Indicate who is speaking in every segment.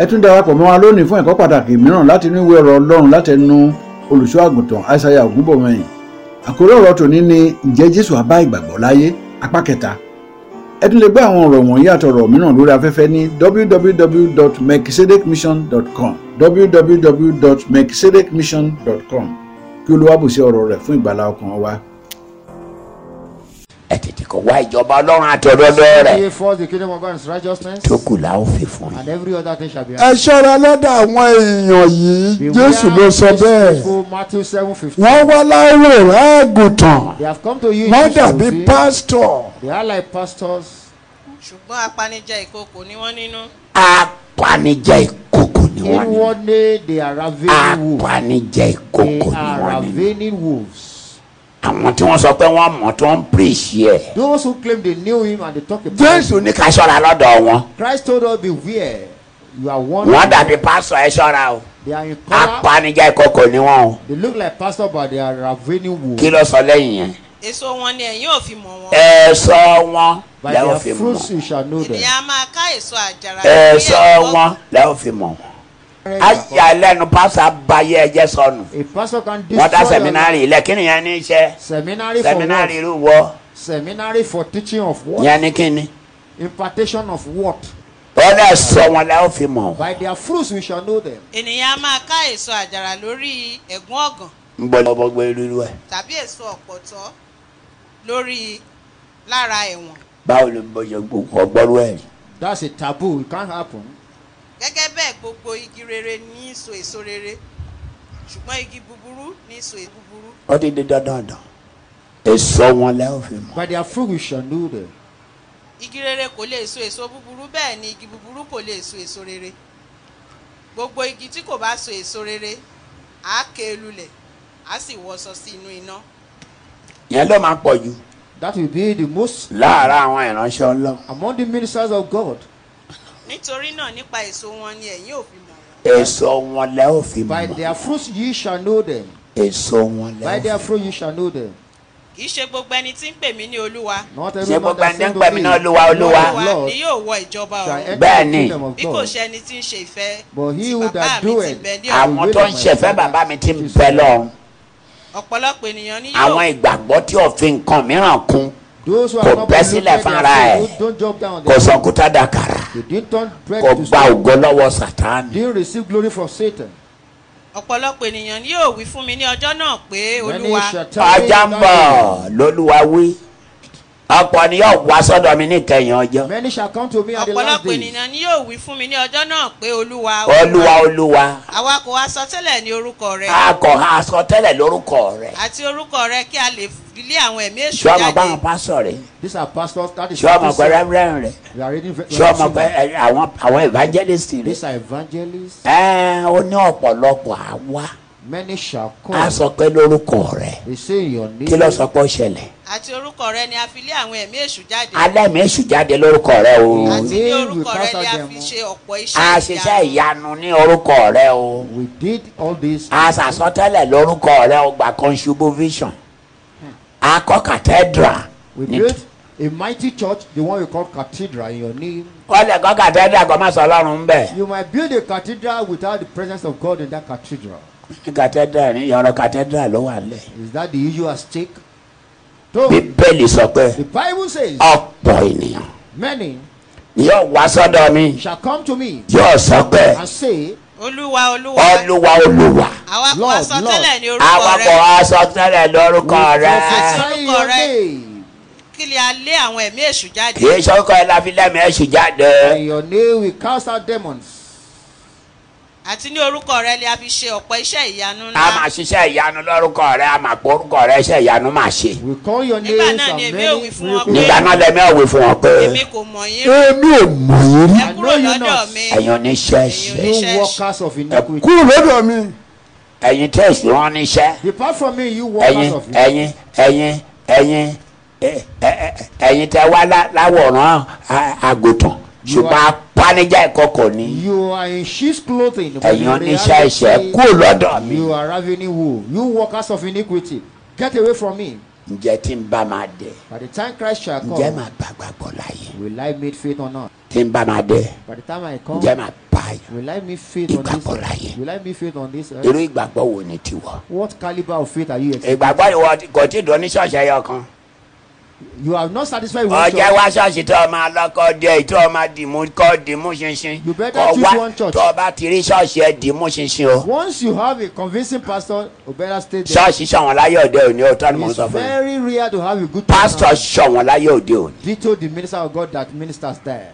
Speaker 1: ẹ tún darapọ̀ mọ́ wa lónìí fún ẹ̀kọ́ pàtàkì mìíràn láti inú ìwé ọ̀rọ̀ ọlọ́run látẹnu olùṣọ́ àgùntàn aishaiya ògúnbọ̀mọyìn àkórí ọ̀rọ̀ tòní ni ǹjẹ́ jésù á bá ìgbàgbọ́ láyé apá kẹta ẹ tún lè gbé àwọn ọ̀rọ̀ wọ̀nyí àtọ̀rọ̀ mìíràn lórí afẹ́fẹ́ ní www.mekisedekmission.com www.mekisedekmission.com kí olúwa bùsí ọ̀rọ̀ rẹ̀ fún ìgbàlá ọkàn wa.
Speaker 2: ẹ tètè kọ wá ìjọba ọlọ́run àti ọdọọdọ rẹ̀
Speaker 3: Ye first the kingdom of God and his righteousness,
Speaker 2: tó kù la ó fi fún yín.
Speaker 3: and every other thing shall be
Speaker 4: ẹ ṣọ́ra lọ́dọ̀ àwọn èèyàn yìí
Speaker 3: Beware
Speaker 4: jésù ló sọ
Speaker 3: these
Speaker 4: bẹ́ẹ̀
Speaker 3: people, Matthew seven fifteen.
Speaker 4: wọ́n wá láwòrán àgùntàn
Speaker 3: They have come to you. in
Speaker 4: wọ́n
Speaker 3: sheep's
Speaker 4: dàbí
Speaker 3: clothing.
Speaker 4: pásítọ̀
Speaker 3: They are like pastors.
Speaker 5: ṣùgbọ́n apanijẹ ìkookò ni wọ́n nínú
Speaker 2: apanijẹ ìkòkò ni wọ́n ní
Speaker 3: Inwardly they are ravening wolves.
Speaker 2: apanijẹ
Speaker 3: They
Speaker 2: ìkòkò ni
Speaker 3: are
Speaker 2: wọ́n ní
Speaker 3: ravening wolves.
Speaker 2: àwọn tí wọ́n sọ pé wọ́n mọ̀ tó ń píríṣì ẹ̀.
Speaker 3: Those who claim they knew him and they talk about
Speaker 2: jésù ní ká ṣọ́ra lọ́dọ̀ wọn
Speaker 3: him. Christ told us, "Beware, you are one."
Speaker 2: wọ́n dàbí pásítọ̀ ẹ ṣọ́ra o
Speaker 3: They are in color.
Speaker 2: apanijẹ ìkòkò ni wọ́n o
Speaker 3: They look like pastor, but they are ravening wolves.
Speaker 2: kí ló sọ lẹ́yìn yẹn.
Speaker 5: èso wọn ni ẹ̀yin ò fi mọ̀ wọ́n
Speaker 2: ẹ sọ wọn
Speaker 3: By
Speaker 2: lẹ́wọ̀n
Speaker 3: their
Speaker 2: fi mọ̀
Speaker 3: fruits you shall know them.
Speaker 5: ènìyàn a máa ká èso àjàrà
Speaker 2: ẹ
Speaker 5: lórí
Speaker 2: sọ
Speaker 5: ẹ̀kọ́.
Speaker 2: wọn lẹ́wọ̀n fi mọ̀ wọn. ayé alẹ́nu pásítọ̀ abayé ẹjẹ́ sọnù
Speaker 3: A pastor can destroy.
Speaker 2: wọ́n dá
Speaker 3: your
Speaker 2: sẹ̀mínárì ilẹ̀ kí nìyẹn ní í ṣe
Speaker 3: life. Seminary for
Speaker 2: sẹ̀mínárì
Speaker 3: what?
Speaker 2: irú wọ
Speaker 3: Seminary for teaching of what?
Speaker 2: yẹn ní kíni.
Speaker 3: Impartation of what?
Speaker 2: wọ́n dẹ̀ sọ wọn lẹ́wọ̀n fi mọ̀ wọn.
Speaker 3: By their fruits we shall know them.
Speaker 5: ènìyàn a máa ká èso àjàrà lórí ẹ̀gún ọ̀gàn
Speaker 2: ń bọ́ lọ́wọ́ gbé irú ẹ̀
Speaker 5: tàbí èso ọ̀pọ̀tọ́ lórí lára ẹ̀wọ̀n
Speaker 2: báwo ló ń bọ́ yẹ gbogbo ọgbọ́rú ẹ̀ rí?
Speaker 3: That's a taboo. It can't happen.
Speaker 5: gẹ́gẹ́ bẹ́ẹ̀ gbogbo igi rere ní í so èso rere ṣùgbọ́n igi búburú ní í so èso búburú
Speaker 2: ó ti di dandan dàn èso wọn lẹ́wọ̀n fi mọ̀
Speaker 3: By their fruit we shall know them.
Speaker 5: igi rere kò lè so èso búburú bẹ́ẹ̀ ni igi búburú kò lè so èso rere gbogbo igi tí kò bá so èso rere á ké e lulẹ̀ á sì wọṣọ sí inú iná
Speaker 2: yẹn ló máa pọ̀ jù
Speaker 3: That will be the most
Speaker 2: láàárọ̀ àwọn ìránṣẹ́ ọlọ́run
Speaker 3: among the ministers of God.
Speaker 5: nítorí náà nípa èso wọn ni ẹ̀yin ò fi mọ̀ wọ́n
Speaker 2: èso wọn lẹ́wọ̀n fi mọ̀
Speaker 3: By their fruits ye shall know them.
Speaker 2: èso wọn lẹ́wọ̀n fi
Speaker 3: By their
Speaker 2: mọ̀
Speaker 3: fruit ye shall know them.
Speaker 5: kì í ṣe gbogbo ẹni tí ń pè mí ní olúwa
Speaker 3: Not
Speaker 2: ṣé
Speaker 3: every man
Speaker 2: gbogbo
Speaker 3: that
Speaker 2: ẹni tí ń
Speaker 3: said
Speaker 2: pè
Speaker 3: unto
Speaker 2: mí
Speaker 3: me,
Speaker 2: náà olúwa olúwa
Speaker 3: Lord,
Speaker 5: olúwa
Speaker 3: Lord,
Speaker 5: ni yóò wọ ìjọba
Speaker 3: shall
Speaker 5: ọ̀run
Speaker 3: enter
Speaker 2: Bẹ́ẹ̀
Speaker 3: the
Speaker 2: ni.
Speaker 3: kingdom of
Speaker 5: bí kò
Speaker 3: God.
Speaker 5: ṣe ẹni tí ń ṣe ìfẹ́
Speaker 3: But he
Speaker 5: tí
Speaker 3: who
Speaker 5: bàbá
Speaker 3: that
Speaker 5: mi ti
Speaker 3: doeth,
Speaker 5: bẹ̀ ní ọ̀run
Speaker 2: àwọn tó ń ṣẹ̀fẹ́ bàbá mi ti ń bẹ lọ́run
Speaker 5: ọ̀pọ̀lọpọ̀ ènìyàn ni yóò
Speaker 2: àwọn ìgbàgbọ́ tí òfin nǹkan mìíràn kún
Speaker 3: Those who
Speaker 2: Kò
Speaker 3: are not
Speaker 2: bẹ́ sílẹ̀
Speaker 3: polluted,
Speaker 2: fúnra
Speaker 3: their
Speaker 2: ẹ̀.
Speaker 3: food, don't jump down
Speaker 2: kò
Speaker 3: there.
Speaker 2: sọ kúta dàkàrà
Speaker 3: They didn't turn bread
Speaker 2: kò
Speaker 3: to
Speaker 2: gba
Speaker 3: stone.
Speaker 2: ògo lọ́wọ́ sàtáàni
Speaker 3: Didn't receive glory from Satan.
Speaker 5: ọ̀pọ̀lọpọ̀ ènìyàn ni yóò wí fún mi ní ọjọ́ náà pé
Speaker 3: Many
Speaker 5: olúwa
Speaker 3: shall tell
Speaker 2: ọjà
Speaker 3: me
Speaker 2: ń
Speaker 3: that
Speaker 2: bọ̀
Speaker 3: day.
Speaker 2: lólúwa wí ọ̀pọ̀ ni yóò wá sọ́dọ̀ mi níkẹyìn ọjọ́
Speaker 3: Many shall come to me at the last
Speaker 5: ọ̀pọ̀lọpọ̀
Speaker 3: day.
Speaker 5: ènìyàn ni yóò wí fún mi ní ọjọ́ náà pé olúwa
Speaker 2: olúwa olúwa
Speaker 5: àwa kò wá sọ tẹ́lẹ̀ ní orúkọ rẹ
Speaker 2: a kò àsọtẹ́lẹ̀ lórúkọ rẹ̀
Speaker 5: àti orúkọ rẹ kí a lè fi lé àwọn ẹ̀mí èṣù
Speaker 2: ṣọ́ ọmọ
Speaker 5: jáde
Speaker 2: báwọn pásọ̀ rẹ̀
Speaker 3: These are pastors. That is
Speaker 2: ṣọ́ ọmọ
Speaker 3: what
Speaker 2: pé
Speaker 3: they say.
Speaker 2: rẹ́mrẹ́m rẹ̀
Speaker 3: We are reading. we
Speaker 2: ṣọ́
Speaker 3: are
Speaker 2: ọmọ
Speaker 3: reading
Speaker 2: pé ẹ, àwọn àwọn evangelist rẹ̀
Speaker 3: These are evangelists.
Speaker 2: ẹ ó ní ọ̀pọ̀lọpọ̀ àwa
Speaker 3: Many shall
Speaker 2: a
Speaker 3: come.
Speaker 2: sọ pé lórúkọ rẹ̀
Speaker 3: They say in your name.
Speaker 2: kí ló sọ pé ó ṣẹlẹ̀
Speaker 5: àti orúkọ rẹ ni a fi lé àwọn ẹ̀mí èṣù jáde
Speaker 2: alẹ́mí èṣù jáde lórúkọ rẹ̀ o
Speaker 5: àti ní orúkọ rẹ ni a fi
Speaker 3: Name
Speaker 5: ṣe ọ̀pọ̀
Speaker 2: a
Speaker 5: iṣẹ́
Speaker 2: ṣiṣẹ́ ìyanu ní orúkọ rẹ̀ o
Speaker 3: We did all this.
Speaker 2: a sàsọtẹ́lẹ̀ lórúkọ rẹ̀ o gba contribution a kọ́ cathedral
Speaker 3: We
Speaker 2: ní
Speaker 3: built a mighty church, the one we call cathedral in your name.
Speaker 2: wọ́n lè kọ́ cathedral kọ́ máa sọ ọlọ́run ń bẹ̀
Speaker 3: You might build a cathedral without the presence of God in that cathedral.
Speaker 2: ní cathedral ní ìyọ̀rọ̀ cathedral ló wà lẹ̀
Speaker 3: Is that the issue at stake? So,
Speaker 2: bíbélì sọ pé
Speaker 3: the Bible says,
Speaker 2: ọ̀pọ̀ ènìyàn
Speaker 3: Many
Speaker 2: ni yóò wá sọ́dọ̀ mi
Speaker 3: shall come to me
Speaker 2: yóò sọ pé
Speaker 3: and say,
Speaker 5: olúwa olúwa
Speaker 2: olúwa olúwa
Speaker 5: àwa kò wá
Speaker 3: Lord,
Speaker 5: sọ
Speaker 3: Lord.
Speaker 5: tẹ́lẹ̀ ní orúkọ
Speaker 2: awakọ̀
Speaker 5: rẹ
Speaker 2: asọtẹ́lẹ̀
Speaker 3: We
Speaker 2: lórúkọ rẹ̀
Speaker 3: prophesy in your
Speaker 5: Orúkọ rẹ.
Speaker 3: name.
Speaker 5: kí lè a lé àwọn ẹ̀mí èṣù jáde
Speaker 2: kì í sọ́kọ̀ ẹ̀ láfi lẹ́mí ẹ̀ṣù jáde
Speaker 3: In your name we cast out demons.
Speaker 5: àti ní orúkọ rẹ ni a fi ṣe ọ̀pọ̀ iṣẹ́ ìyanu
Speaker 2: a máa
Speaker 5: ńlá
Speaker 2: ṣiṣẹ́ ìyanu lórúkọ rẹ̀ a máa pọ̀ orúkọ rẹ̀ ṣe ìyanu máa ṣe
Speaker 3: We call your
Speaker 5: Nígbà
Speaker 3: names
Speaker 5: náà
Speaker 3: and
Speaker 5: ni èmi
Speaker 3: many
Speaker 5: ò wí fún wọn
Speaker 3: miracles.
Speaker 5: pé-
Speaker 2: nígbà náà lẹ́mí ọ̀wé fún wọn pé
Speaker 5: èmi kò mọ̀ yín rí
Speaker 4: èmi ò mọ̀ yín rí
Speaker 5: ẹ kúrò
Speaker 3: I know you
Speaker 5: lọ́dọ̀
Speaker 3: not.
Speaker 5: mi
Speaker 2: ẹ̀yin oníṣẹ́ṣe
Speaker 3: You workers of iniquity.
Speaker 4: kúrò lọ́dọ̀ mi
Speaker 2: ẹ̀yin tẹ̀sí wọn níṣẹ́
Speaker 3: Depart from me, you workers
Speaker 2: ẹ̀yin
Speaker 3: of iniquity.
Speaker 2: ẹ̀yin ẹ̀yin ẹ̀yin ẹ- ẹ- ẹ- ẹ̀yin tẹ wá lá- láwòrán a- àgùntàn ṣùgbọ́n apanijá ìkọkọ ni
Speaker 3: You are in sheep's clothing. but
Speaker 2: ẹ̀yin
Speaker 3: in
Speaker 2: oníṣẹ́ ẹ̀ṣẹ̀
Speaker 3: reality,
Speaker 2: kúrò lọ́dọ̀ mi
Speaker 3: You are ravening wool. You workers of iniquity. Get away from me.
Speaker 2: ǹjẹ́ tí ń bá máa dé
Speaker 3: By the time Christ shall
Speaker 2: ǹjẹ́
Speaker 3: come,
Speaker 2: máa bá gbàgbọ́ láyé
Speaker 3: will I meet faith or not?
Speaker 2: tí ń bá máa dé
Speaker 3: By the time I come,
Speaker 2: ǹjẹ́ máa bá láàyè
Speaker 3: Will I meet faith on this
Speaker 2: Ìgbàgbọ́ láyé.
Speaker 3: earth? Will I meet faith on this
Speaker 2: irú Eh.
Speaker 3: earth?
Speaker 2: ìgbàgbọ́ wo ni tiwọ.
Speaker 3: What caliber of faith are you expecting?
Speaker 2: ìgbàgbọ́ ìwọ kò tí ì dún ní ṣọ́ọ̀ṣì ẹyọ kan
Speaker 3: You are not satisfied with what you
Speaker 2: ọjọ́
Speaker 3: are.
Speaker 2: wá ṣọ́ọ̀ṣì tó o máa lọ kọ́ díẹ̀ tó o máa dìmú kọ́ dìmú ṣinṣin
Speaker 3: You better
Speaker 2: kọ́
Speaker 3: choose one church.
Speaker 2: tó o bá ti rí ṣọ́ọ̀ṣì ẹ dìmú ṣinṣin o
Speaker 3: Once you have a convincing pastor, you better stay there.
Speaker 2: ṣọ́ọ̀ṣì ṣọ̀wọ́n láyé òde òní o tọ́ni mò ń
Speaker 3: It's
Speaker 2: sọ fún mi
Speaker 3: very rare to have a good
Speaker 2: pásítọ̀ ṣọ̀wọ́n láyé òde òní
Speaker 3: Veto the minister of God that ministers there.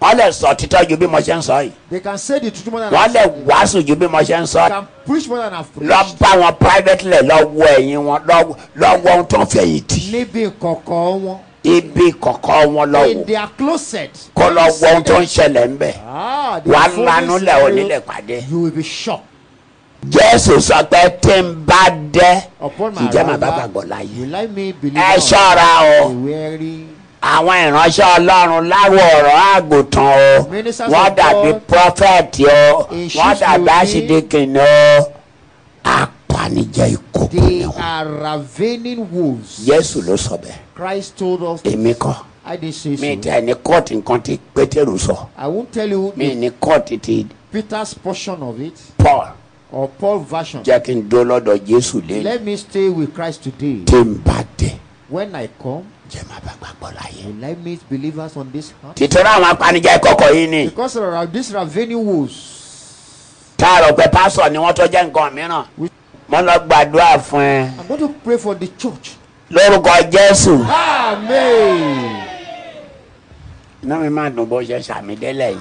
Speaker 2: wọ́n lè sọ títọ́ ju bí mo ṣe ń sọ yìí
Speaker 3: They can say the truth more than
Speaker 2: wọ́n
Speaker 3: I've
Speaker 2: lè
Speaker 3: said.
Speaker 2: wàásù ju bí mo ṣe ń sọ
Speaker 3: They
Speaker 2: yìí
Speaker 3: can preach more than I've
Speaker 2: lọ
Speaker 3: preached.
Speaker 2: bá wọn privately lọ wọ ẹ̀yìn wọn lọ lọ wọ ohun tó ń fẹ̀yìn tì
Speaker 3: Níbi kọ̀ọ̀kan wọn.
Speaker 2: ibi kọ̀ọ̀kọ́ wọn lọ
Speaker 3: In
Speaker 2: wò
Speaker 3: their closet.
Speaker 2: kó lọ wọ ohun tó ń ṣẹlẹ̀ ń bẹ̀
Speaker 3: Ah, the
Speaker 2: wà
Speaker 3: fullness
Speaker 2: lánú lẹ̀
Speaker 3: of
Speaker 2: òní
Speaker 3: you-
Speaker 2: lẹ̀ pàdé.
Speaker 3: You will be shocked.
Speaker 2: jésù sọ pé tí n bá dẹ́
Speaker 3: Upon my
Speaker 2: ǹjẹ́ màá bá
Speaker 3: arrival,
Speaker 2: gbàgbọ́ láyé
Speaker 3: Will I me believe?
Speaker 2: ẹ
Speaker 3: not?
Speaker 2: ṣọ́ra o
Speaker 3: The weary.
Speaker 2: àwọn ìránṣẹ́ ọlọ́run láwọ̀ ọ̀rọ̀ àgùntàn o
Speaker 3: Ministers of
Speaker 2: wọ́n
Speaker 3: God,
Speaker 2: dàbí prọfẹ̀tì o wọ́n
Speaker 3: in sheep's
Speaker 2: dàbí
Speaker 3: clothing.
Speaker 2: aṣídìkìnì o apanijẹ́ ìkókò ni
Speaker 3: They
Speaker 2: wọn
Speaker 3: are ravening wolves.
Speaker 2: jésù ló sọ bẹ́ẹ̀
Speaker 3: Christ told us.
Speaker 2: èmi kọ́
Speaker 3: I didn't say
Speaker 2: mi
Speaker 3: so.
Speaker 2: tẹ ní kóòtù nǹkan tí pétérù sọ
Speaker 3: I won't tell you
Speaker 2: mi
Speaker 3: the
Speaker 2: ní kóòtù ti
Speaker 3: Peter's portion of it
Speaker 2: paul
Speaker 3: or Paul version.
Speaker 2: jẹ́ kí n dó lọ́dọ̀ jésù lẹ́nu
Speaker 3: Let me stay with Christ today.
Speaker 2: tí n bá dé
Speaker 3: When I come,
Speaker 2: jẹ́ má bá gbàgbọ́ láyé
Speaker 3: will I meet believers on this earth?
Speaker 2: tìtúrọ àwọn apanijẹ́ ìkókò yìí ni.
Speaker 3: Because there are these ravening wolves.
Speaker 2: táàrọ̀ pé pásọ̀ ni wọ́n tó jẹ́ nǹkan mìíràn mo lọ gbàdúrà fún ẹ
Speaker 3: I'm going to pray for the church.
Speaker 2: lórúkọ jésù.
Speaker 3: Amen.
Speaker 2: iná mi máa dùn bó ṣe ṣàmìdélẹ̀ yẹn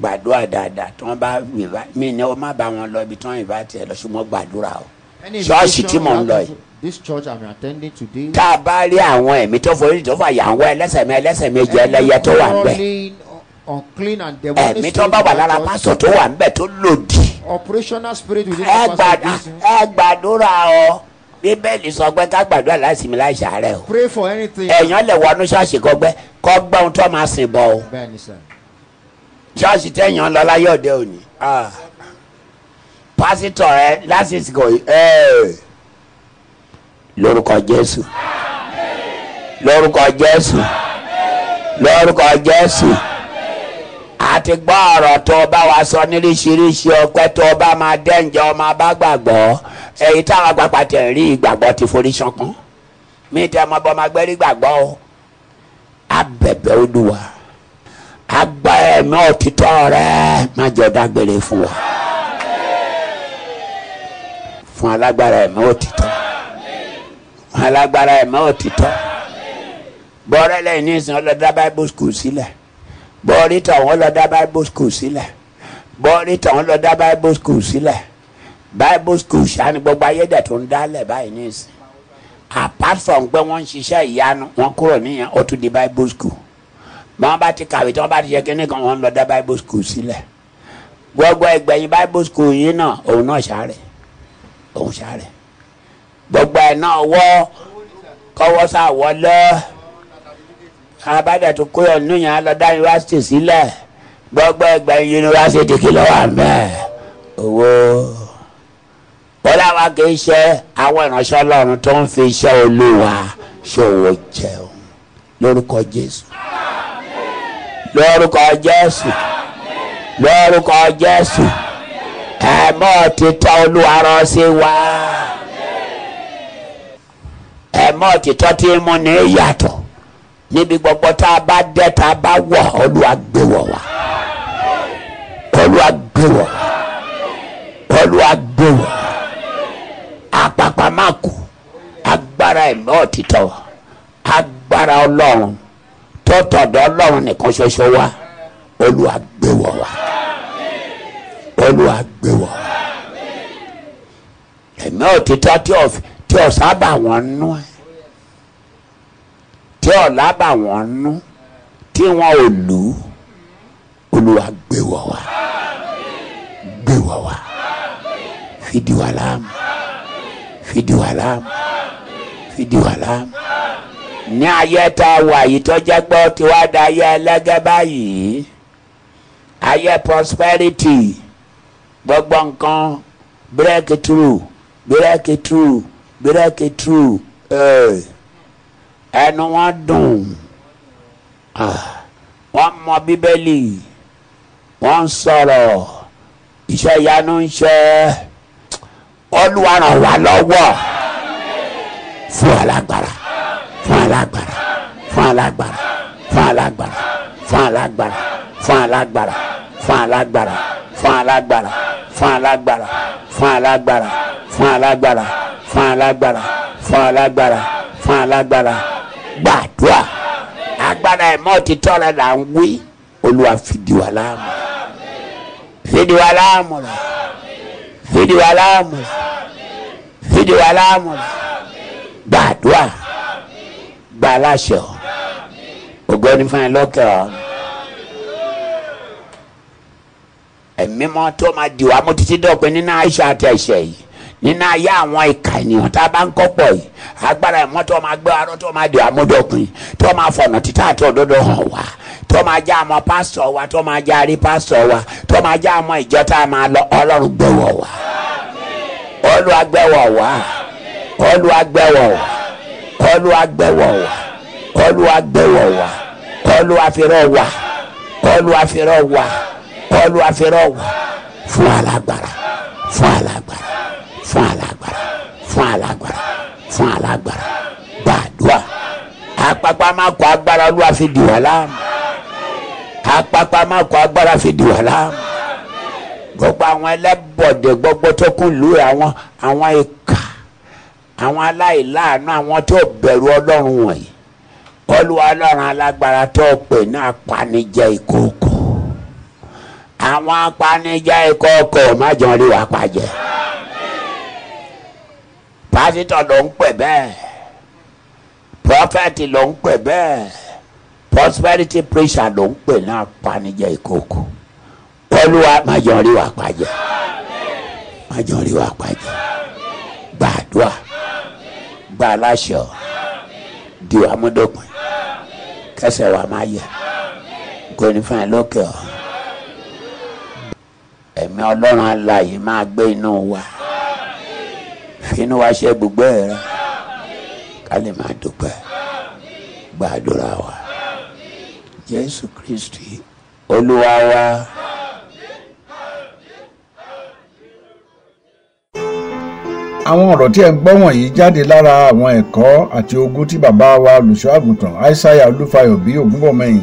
Speaker 2: gbàdúrà dáadáa tí wọ́n bá invite mi ni ó má bá wọn lọ ibi tí wọ́n invite ẹ lọ ṣùgbọ́n gbàdúrà o.
Speaker 3: Any
Speaker 2: ṣọ́ọ̀ṣì tí
Speaker 3: invitation
Speaker 2: mò ń
Speaker 3: you
Speaker 2: lọ
Speaker 3: have
Speaker 2: yìí
Speaker 3: to- This church I'm attending today.
Speaker 2: tá a bá rí àwọn ẹ̀mí tó forí tó fà yà ń wọ ẹlẹ́sẹ̀ mi ẹlẹ́sẹ̀ mi jẹ́
Speaker 3: Any
Speaker 2: ẹlẹ́yẹ tó wà ń bẹ̀
Speaker 3: crawling, un- Unclean and demonic
Speaker 2: ẹ̀mí tó
Speaker 3: spirit
Speaker 2: bá wà
Speaker 3: in our
Speaker 2: lára
Speaker 3: church,
Speaker 2: pásọ̀ tó wà ń bẹ̀ tó lòdì
Speaker 3: Operational spirit within
Speaker 2: ẹ
Speaker 3: the
Speaker 2: gbàdúrà
Speaker 3: pastor's business.
Speaker 2: ẹ gbàdúrà o bíbélì sọ pé ká gbàdúrà láìsinmi láìsàárẹ̀ o.
Speaker 3: Pray for anything.
Speaker 2: èèyàn lè wọnú ṣọ́ọ̀ṣì kọ gbẹ kọ gbẹ ohun tó máa sìn bọ o
Speaker 3: Bẹ́ẹ̀ni sir.
Speaker 2: ṣọ́ọ̀ṣì tẹ̀yàn ń lọ láyé òde òní ah. pásítọ̀ ẹ lásìkò yìí eh. lórúkọ jésù lórúkọ jésù lórúkọ jésù àti gbọ́ ọ̀rọ̀ tó o bá wa sọ níríṣiríṣi ọpẹ́ tó o bá máa dẹ́njẹ́ ọmọ bá gbàgbọ́ èyí táwọn àgbàpá tẹ̀ ń rí ìgbàgbọ́ ti forí ṣánpọ́n mi tẹ́ ọmọ bọ́ máa gbẹ́rí gbàgbọ́ o abẹ̀bẹ̀ olúwa agbá ẹ̀mí òtítọ́ rẹ má jẹ́ dágbére fún wa fún alágbára ẹ̀mí òtítọ́ fún alágbára ẹ̀mí òtítọ́ bọ́ọ̀rẹ́ lẹ́yìn nísìnyí ọlọ́dá bible school sílẹ̀ bọ́ọ̀rí tọ̀hún ọlọ́dá bible school sílẹ̀ bọ́ọ̀rí tọ̀hún ọlọ́dá bible school sílẹ̀ bible school ṣáà ni gbogbo ayédè tó ń dálẹ̀ báyìí nísìnyí apart from pé wọ́n ń ṣiṣẹ́ ìyanu wọ́n kúrò níyẹn ó tún di bible school bí wọ́n bá ti kàwé tí wọ́n bá ti ṣe kínní kan wọ́n ń lọ dá bible school sílẹ̀ gbogbo ẹgbẹ̀yìn bible school yìí náà òun náà ṣàárẹ̀ òun ṣàárẹ̀ gbogbo ẹ̀ náà wọ́ kọ́wọ́ sá wọlé abájá tó kúrò níyẹn á lọ dá yunifásitì sílẹ̀ gbogbo ẹgbẹ̀yìn yunifásitì kí ló wà mẹ́ẹ̀ owó. Oh, ó láwa kì í ṣe àwọn ìránṣẹ́ ọlọ́run tó ń fi iṣẹ́ olúwa ṣòwò jẹun lórúkọ jésù lórúkọ jésù lórúkọ jésù ẹ̀mọ́ òtítọ́ olúwa rọ sí wa ẹ̀mọ́ òtítọ́ tí mú ní yàtọ̀ níbi gbogbo tá a bá dé tá a bá wọ̀ olúwa gbé wọ̀ wá olúwa gbé wọ̀ wá olúwa gbé wọ̀ wá apapamako agbára ẹ̀mí òtítọ́ agbára ọlọ́run tó tọ̀dọ̀ ọlọ́run nìkan ṣoṣo wa olúwa gbé wọ̀ wá olúwa gbé wọ̀ wá ẹ̀mí òtítọ́ tí ò tí ò sábà wọ́n nú ẹ̀ tí ò lábà wọ́n nú tí wọn ò lù ú olúwa gbé wọ̀ wá gbé wọ̀ wá fìdí wa láàmú fìdí wà láàmú fìdí wà láàmú. ní ayé tá a wà yìí tó jẹ́ pé ó ti wá da ayé ẹlẹ́gẹ́ báyìí ayé prosperity gbogbo nǹkan breakthrough breakthrough breakthrough eh, ẹnu wọn dùn ah, wọn mọ bíbélì wọ́n ń sọ̀rọ̀ iṣẹ́ ìyanu ń ṣe olúwa ràn wá lọ́wọ́ fún alágbára fún alágbára fún alágbára fún alágbára fún alágbára fún alágbára fún alágbára fún alágbára fún alágbára fún alágbára fún alágbára fún alágbára fún alágbára fún alágbára gbàdúrà agbára ẹ̀mọ́ títọ́ rẹ̀ là ń wí olúwa fìdí wa láàmú fìdí wa láàmú rẹ̀ fìdí wa láàmú rẹ̀ fìdí wa láàmú rẹ̀ gbàdúrà gba aláṣẹ ọ ògbẹ́ni fún ẹ lọ́kẹ́ ọ ẹ̀mí mọ́ tó máa di wa mo ti ti dọ̀ pé nínú àìsàn àti ẹ̀ṣẹ̀ yìí nínú ayé àwọn ìka ènìyàn tá a bá ń kọ́ pọ̀ yìí agbára ẹ̀mọ́ tó máa gbé arọ́ tó máa di amúdọ̀kùn tó máa fọ̀nà títà àti òdodo hàn wá tó máa já àmọ́ pásítọ̀ wa tó máa já rí pásítọ̀ wa tó máa já àmọ́ ìjọ tá a máa lọ ọlọ́run gbẹ̀wọ̀ wá olúwa gbẹ̀wọ̀ wá olúwa gbẹ̀wọ̀ wá olúwa gbẹ̀wọ̀ wá olúwa gbẹ̀wọ̀ wá olúwa fẹ́rọ̀ wá olúwa fẹ́rọ̀ wá olúwa fẹ́rọ̀ wá fún alágbára fún alágbára fún alágbára fún alágbára fún alágbára gbàdúrà apapa máa kọ agbára olúwa fi dì wá láàmú apapa máa kọ agbára fi dì wá láàmú gbogbo àwọn ẹlẹ́bọ̀dẹ̀ gbogbo tó kún lù àwọn àwọn ìka àwọn aláìláàánú àwọn tó bẹ̀rù ọlọ́run wọ̀nyí olúwa ọlọ́run alágbára tó pè ní apanijẹ ìkookò àwọn apanijẹ ìkookò má jọ rí wa pa jẹ pásítọ̀ ló ń pè bẹ́ẹ̀ prọfẹ̀tì ló ń pè bẹ́ẹ̀ prosperity preacher ló ń pè náà panijẹ ìkookò olúwa májọ rí wa pàjẹ májọ rí wa pàjẹ gbàdúrà gba aláṣẹ ọ di wa múdòpin kẹsẹ wa máa yẹ goni fún ẹ lókè ọ ẹ̀mí ọlọ́run alààyè máa gbé inú wa fínú wa ṣe gbogbo ẹ rẹ ká lè máa dúpẹ́ gbàdúrà wa jésù kristi olúwa wa.
Speaker 1: àwọn ọ̀rọ̀ tí ẹ̀ ń gbọ́ wọ̀nyí jáde lára àwọn ẹ̀kọ́ àti ogun tí bàbá wa olùṣọ́àgùntàn aishaiya olúfayọ bí ògúnbọ̀mọyìn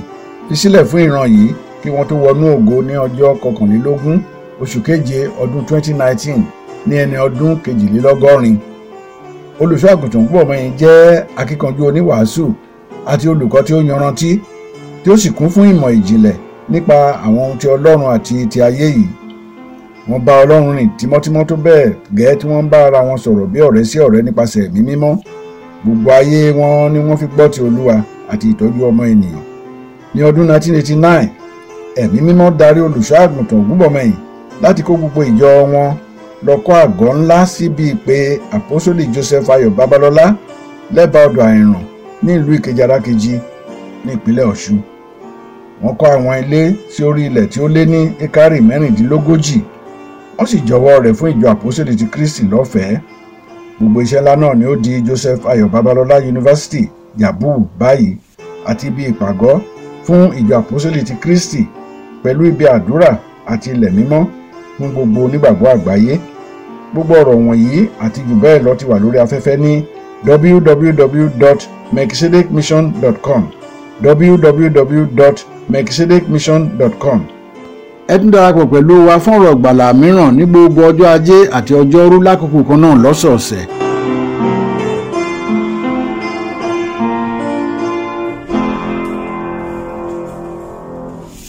Speaker 1: fi sílẹ̀ fún ìran yìí kí wọ́n tó wọnú ògo ní ọjọ́ kọkànlélógún oṣù keje ọdún 2019 ní ẹni ọdún kejìlélọ́gọ́rin olùṣọ́àgùntàn ògúnbọ̀mọyìn jẹ́ akíkanjú oníwàásù àti olùkọ́ tí ó yanrantí tí ó sì kún fún ìmọ̀ ìjìnlẹ̀ nípa àwọn ohun ti ọlọ́run àti ti ayé yìí wọ́n bá ọlọ́run rìn tímọ́tímọ́ tó bẹ́ẹ̀ gẹ́ẹ́ tí wọ́n ń bá ara wọn sọ̀rọ̀ bí ọ̀rẹ́ sí ọ̀rẹ́ nípasẹ̀ ẹ̀mí mímọ́ gbogbo ayé wọn ni wọ́n fi gbọ́ ti olúwa àti ìtọ́jú ọmọ ènìyàn ní ọdún 1989 ẹ̀mí mímọ́ darí olùṣọ́ àgùntàn ògúnbọ̀mọyìn láti kó gbogbo ìjọ wọn lọ kọ́ àgọ́ ńlá síbi ìpè àpọ́sólì joseph ayọ̀ babalọ́lá lẹ́bàá ọ̀dọ̀ àìràn ní ìlú ìkejì arákejì ní ìpínlẹ̀ ọ̀ṣun wọ́n kọ́ àwọn ilé sí orí ilẹ̀ tí ó lé ní ekari mẹ́rìndínlógójì wọ́n sì jọwọ́ rẹ̀ fún ìjọ àpòsílẹ̀ ti kristi lọ́fẹ̀ẹ́ gbogbo iṣẹ́ ńlá náà ni ó di joseph ayọ̀ babalọ́lá yunifásitì yabu báyìí àti ibi ìpàgọ́ fún ìjọ àpòsílẹ̀ ti kristi pẹ̀lú ibi àdúrà àti ilẹ̀ mímọ́ fún gbogbo onígbàgbọ́ àgbáyé gbogbo ọ̀rọ̀ wọ̀nyí àti jù bẹ́ẹ̀ lọ ti wà lórí afẹ́fẹ́ ní www.mexicidicmission.com www.mexicidicmission.com
Speaker 6: ẹ tún darapọ̀ pẹ̀lú wa fún ọ̀rọ̀ ìgbàlà mìíràn ní gbogbo ọjọ́ ajé àti ọjọ́rú lákòókò kan náà lọ́sọ̀ọ̀sẹ̀